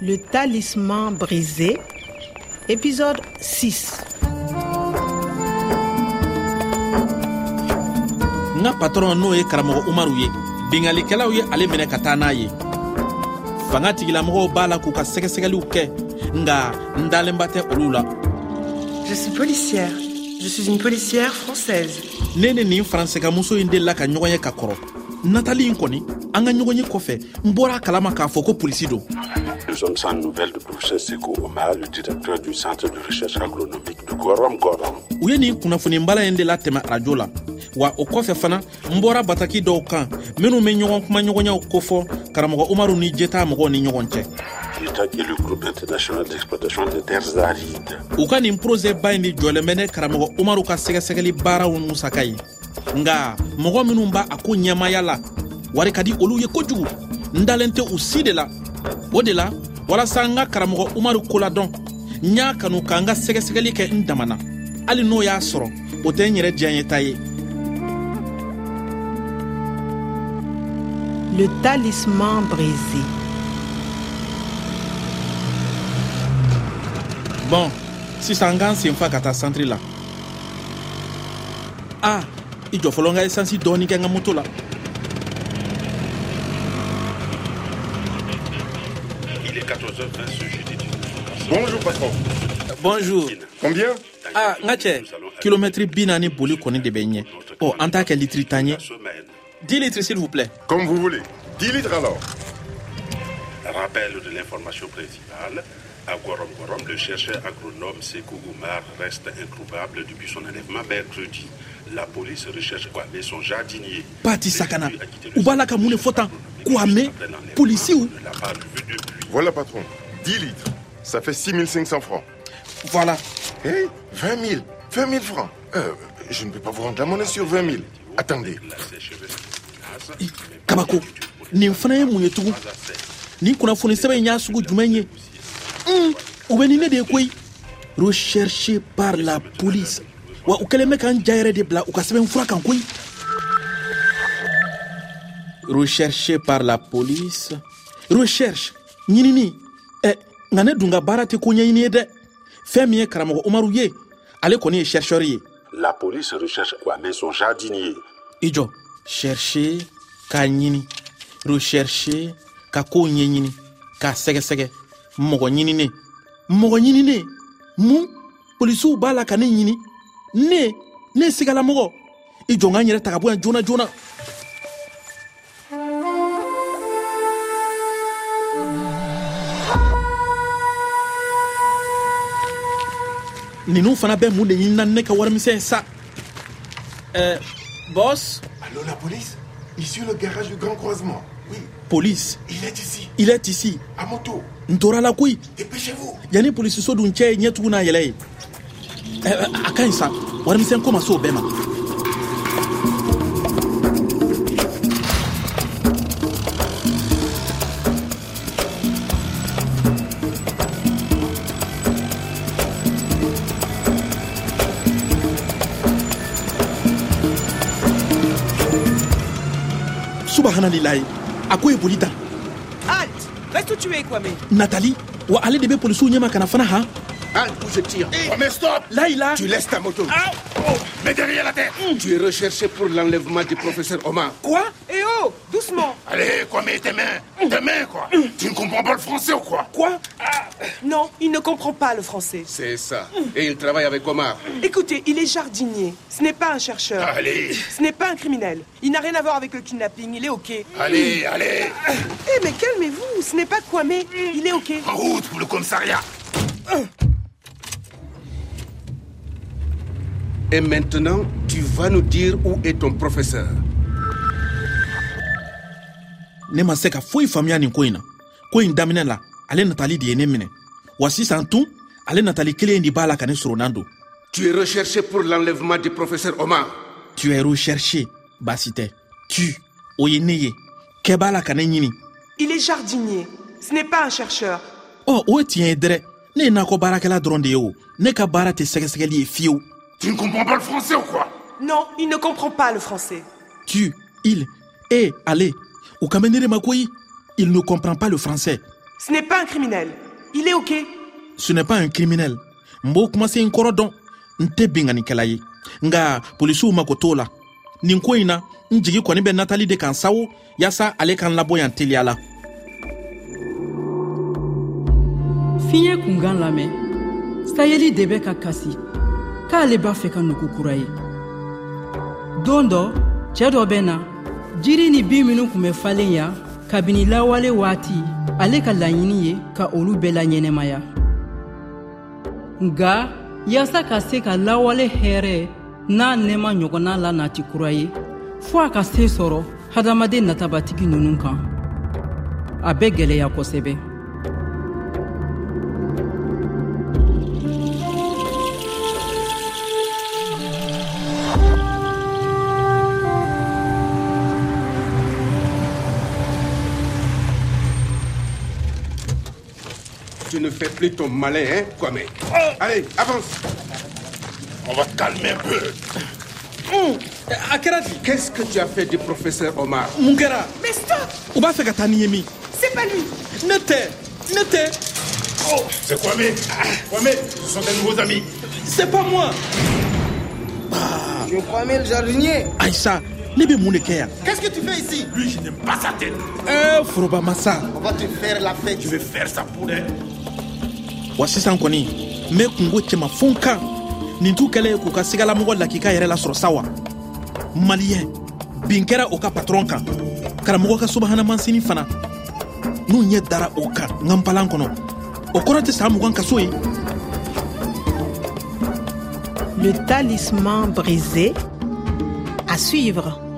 Le talisman brisé, épisode 6. n ka patɔrɔn n'o ye karamɔgɔ umaru ye bengalikɛlaw ye ale minɛ ka taa n'a ye fanga tigilamɔgɔw b'a la k'u ka sɛgɛsɛgɛliw kɛ nga n dalenba tɛ olu la Je suis policière. Je suis une policière française. ne ni nin faransɛkamuso in delila ka ɲɔgɔn ye ka kɔrɔ natali in kɔni an ka ɲɔgɔn ye kɔfɛ n bɔra a kalama k'a fɔ ko polisi don Nous sommes sans nouvelles du professeur Seko Omar, le directeur du centre de recherche agronomique de Gorom Gorom. u ye nin kunnafonibala in de latɛmɛ arajo la wa o kɔfɛ fana n bɔra bataki dɔw kan minw be ɲɔgɔn kuma ɲɔgɔnyaw kofɔ karamɔgɔ umaru ni jeta mɔgɔw ni ɲɔgɔn cɛ L'État et le groupe international d'exploitation des terres arides. u ka nin proze ba ɲi de jɔlen bɛ ne karamɔgɔ umaru ka sɛgɛsɛgɛli baaraw musaka ye nga mɔgɔ minw b'a a ko ɲɛmaya la wari ka di olu ye kojugu n dalen tɛ u si de la o de la walasa n ka karamɔgɔ umaru koladɔn n y'a kanu ka n ka sɛgɛsɛgɛli kɛ n damana hali n'o y'a sɔrɔ o tɛ n yɛrɛ diya ye ta ye Le talisman brisé. bɔn sisan n k'an senfa ka taa santiri la a i jɔ fɔlɔ n ka esansi dɔɔni kɛ n ka moto la Il est 14h20 ce jeudi 19 Bonjour patron. bonjour Combien ah n ka cɛ kilomɛtiri bi naani boli kɔni de Oh, bɛ ɲɛ ɔ an t'a kɛ litiri tan ye semaine. di litiri s'il vous plaît Comme vous voulez. 10 litres alors. Rappel de l'information principale. À Gorom Gorom, le chercheur agronome Sekou Oumar reste introuvable depuis son enlèvement mercredi. La police recherche Kwame, son jardinier. pati sakana u b'a la ka mun de fɔ tan kwame polisiw On ne l'a pas revu depuis. Voilà patron. 10 litres. Ça fait 6500 francs. Eh, voilà Hé 20 000. 20 000 francs. Euh, je ne peux pas vous rendre la monnaie sur 20 000. Attendez. La sécheresse de I, glace, mais pas kabako nin fana ye mun ye tugun à sec. nin kunnafoni sɛbɛn in y'a sugu jumɛn ye un u bɛ ni ne de ye koyi recherché par la police wa u kɛlen bɛ k'an ja yɛrɛ de bila u ka sɛbɛn fura kan koyi recherché par la police recherche ɲinini ɛ nka ne dun ka baara tɛ ko ɲɛɲini ye dɛ fɛn min ye karamɔgɔ umaru ye ale kɔni ye chercheur ye La police recherche Kwame, son jardinier. i jɔ chercher k'a ɲini rechercher ka kow ɲɛɲini k'a sɛgɛsɛgɛ mɔgɔ ɲinine mɔgɔ ɲinine mun polisiw b'a la ka ne ɲini ne ne ye sigalamɔgɔ i jɔ n ka n yɛrɛ ta ka bɔ yan joona joona ninnu fana bɛ mun de ɲinina ni ne ka warimisɛn ye sa Eh, ɛɛ bɔs Allô la police Ici le garage du grand croisement. Oui, polisi il est ici. il est ici À moto. n torala koyi Dépêchez-vous. yanni polisiso dun cɛ ye ɲɛtugu n'a yɛlɛ ye Ɛ, ɛ, a ka ɲi sa warimisɛn ko ma se o bɛɛ ma subahanalilayi a ko ye boli ta Halte Reste où tu es, Kwame. natali wa ale de bɛ polisiw ɲɛma kana fana han Halte ou Ah, je tire. Eh, mais stop layila Tu laisses ta moto. Mais derrière la tête Tu es recherché pour l'enlèvement du professeur Omar. Quoi Eh oh Doucement Allez, Kwame, tes mains Hum. Tes mains, quoi Tu ne comprends pas le français ou quoi Quoi Non, il ne comprend pas le français. C'est ça. Et il travaille avec Omar. Écoutez, il est jardinier. Ce n'est pas un chercheur. Allez, Ce n'est pas un criminel. Il n'a rien à voir avec le kidnapping. Il est OK. Eh, allez, allez mais calmez-vous. Ce n'est pas Kwame. Il est OK. En route pour le commissariat Et maintenant, tu vas nous dire où est ton professeur. ne ma se ka foyi faamuya nin ko in na ko in daminɛ la ale natali de ye ne minɛ wa sisan tun ale natali kelen in de b'a la ka ne surunan don Tu es recherché pour l'enlèvement du professeur Omar. tu es recherché baasi tɛ tu o ye ne ye kɛ b'a la ka ne ɲini Il est jardinier. Ce n'est pas un chercheur. ɔ o ye tiɲɛ ye dɛrɛ ne ye nakɔ baarakɛla dɔrɔn de ye o ne ka baara tɛ sɛgɛsɛgɛli ye fiyewu Tu ne comprends pas le français ou quoi Non, il ne comprend pas le français. tu il et ale u kan bɛ ne de ma koyi il ne comprend pas le français Ce n'est pas un criminel. Il est OK. ce n'est pas un criminel n b'o kumasen in kɔrɔ dɔn n tɛ binganikɛla ye nga polisiw mago t'o la nin ko in na n jigi kɔni bɛ natali de kan sawo yaasa ale kan labɔ yan teliya la fiɲɛ kunkan lamɛn sayeli de bɛ ka kasi k'ale b'a fɛ ka nugu kura ye don dɔ cɛɛ dɔ bɛ na jiri ni bin minw kun bɛ falen ya kabini lawale waati ale ka laɲini ye ka olu bɛɛ laɲɛnɛmaya nga yaasa ka se ka lawale hɛɛrɛ n'a nɛɛma ɲɔgɔnna la nati kura ye fɔɔ a ka see sɔrɔ hadamaden natabatigi ninnu kan a bɛ gwɛlɛya kosɛbɛ Tu ne fais plus ton malin, hein, Kwame. Oh. Allez, avance. On va te calmer un peu. a kɛra di Qu'est-ce que tu as fait du professeur Omar mun kɛra Mais stop u b'a fɛ ka taa ni ye min C'est pas lui ne tɛ ne tɛ Oh, c'est Kwame. Ah, Kwame, ce sont tes nouveaux amis. c'est pas moi Je crois même le jardinier. ayisa ne bɛ mun de kɛ yan Qu'est-ce que tu fais ici Lui, je n'aime pas sa tête. ɛɛ Euh, foroba masa On va te faire la fête. Je vais faire ça pour elle. wa sisan kɔni n bɛ kungo cɛmafɛnw kan nin t'u kɛlen ye k'u ka sigalamɔgɔ lakika yɛrɛ lasɔrɔ sa wa maliyɛn bin kɛra o ka patɔrɔn kan karamɔgɔ ka subahanamansini fana n'u ɲɛ dara o kan n ka npalan kɔnɔ o kɔrɔ tɛ san mugan kaso ye Le talisman brisé. À suivre.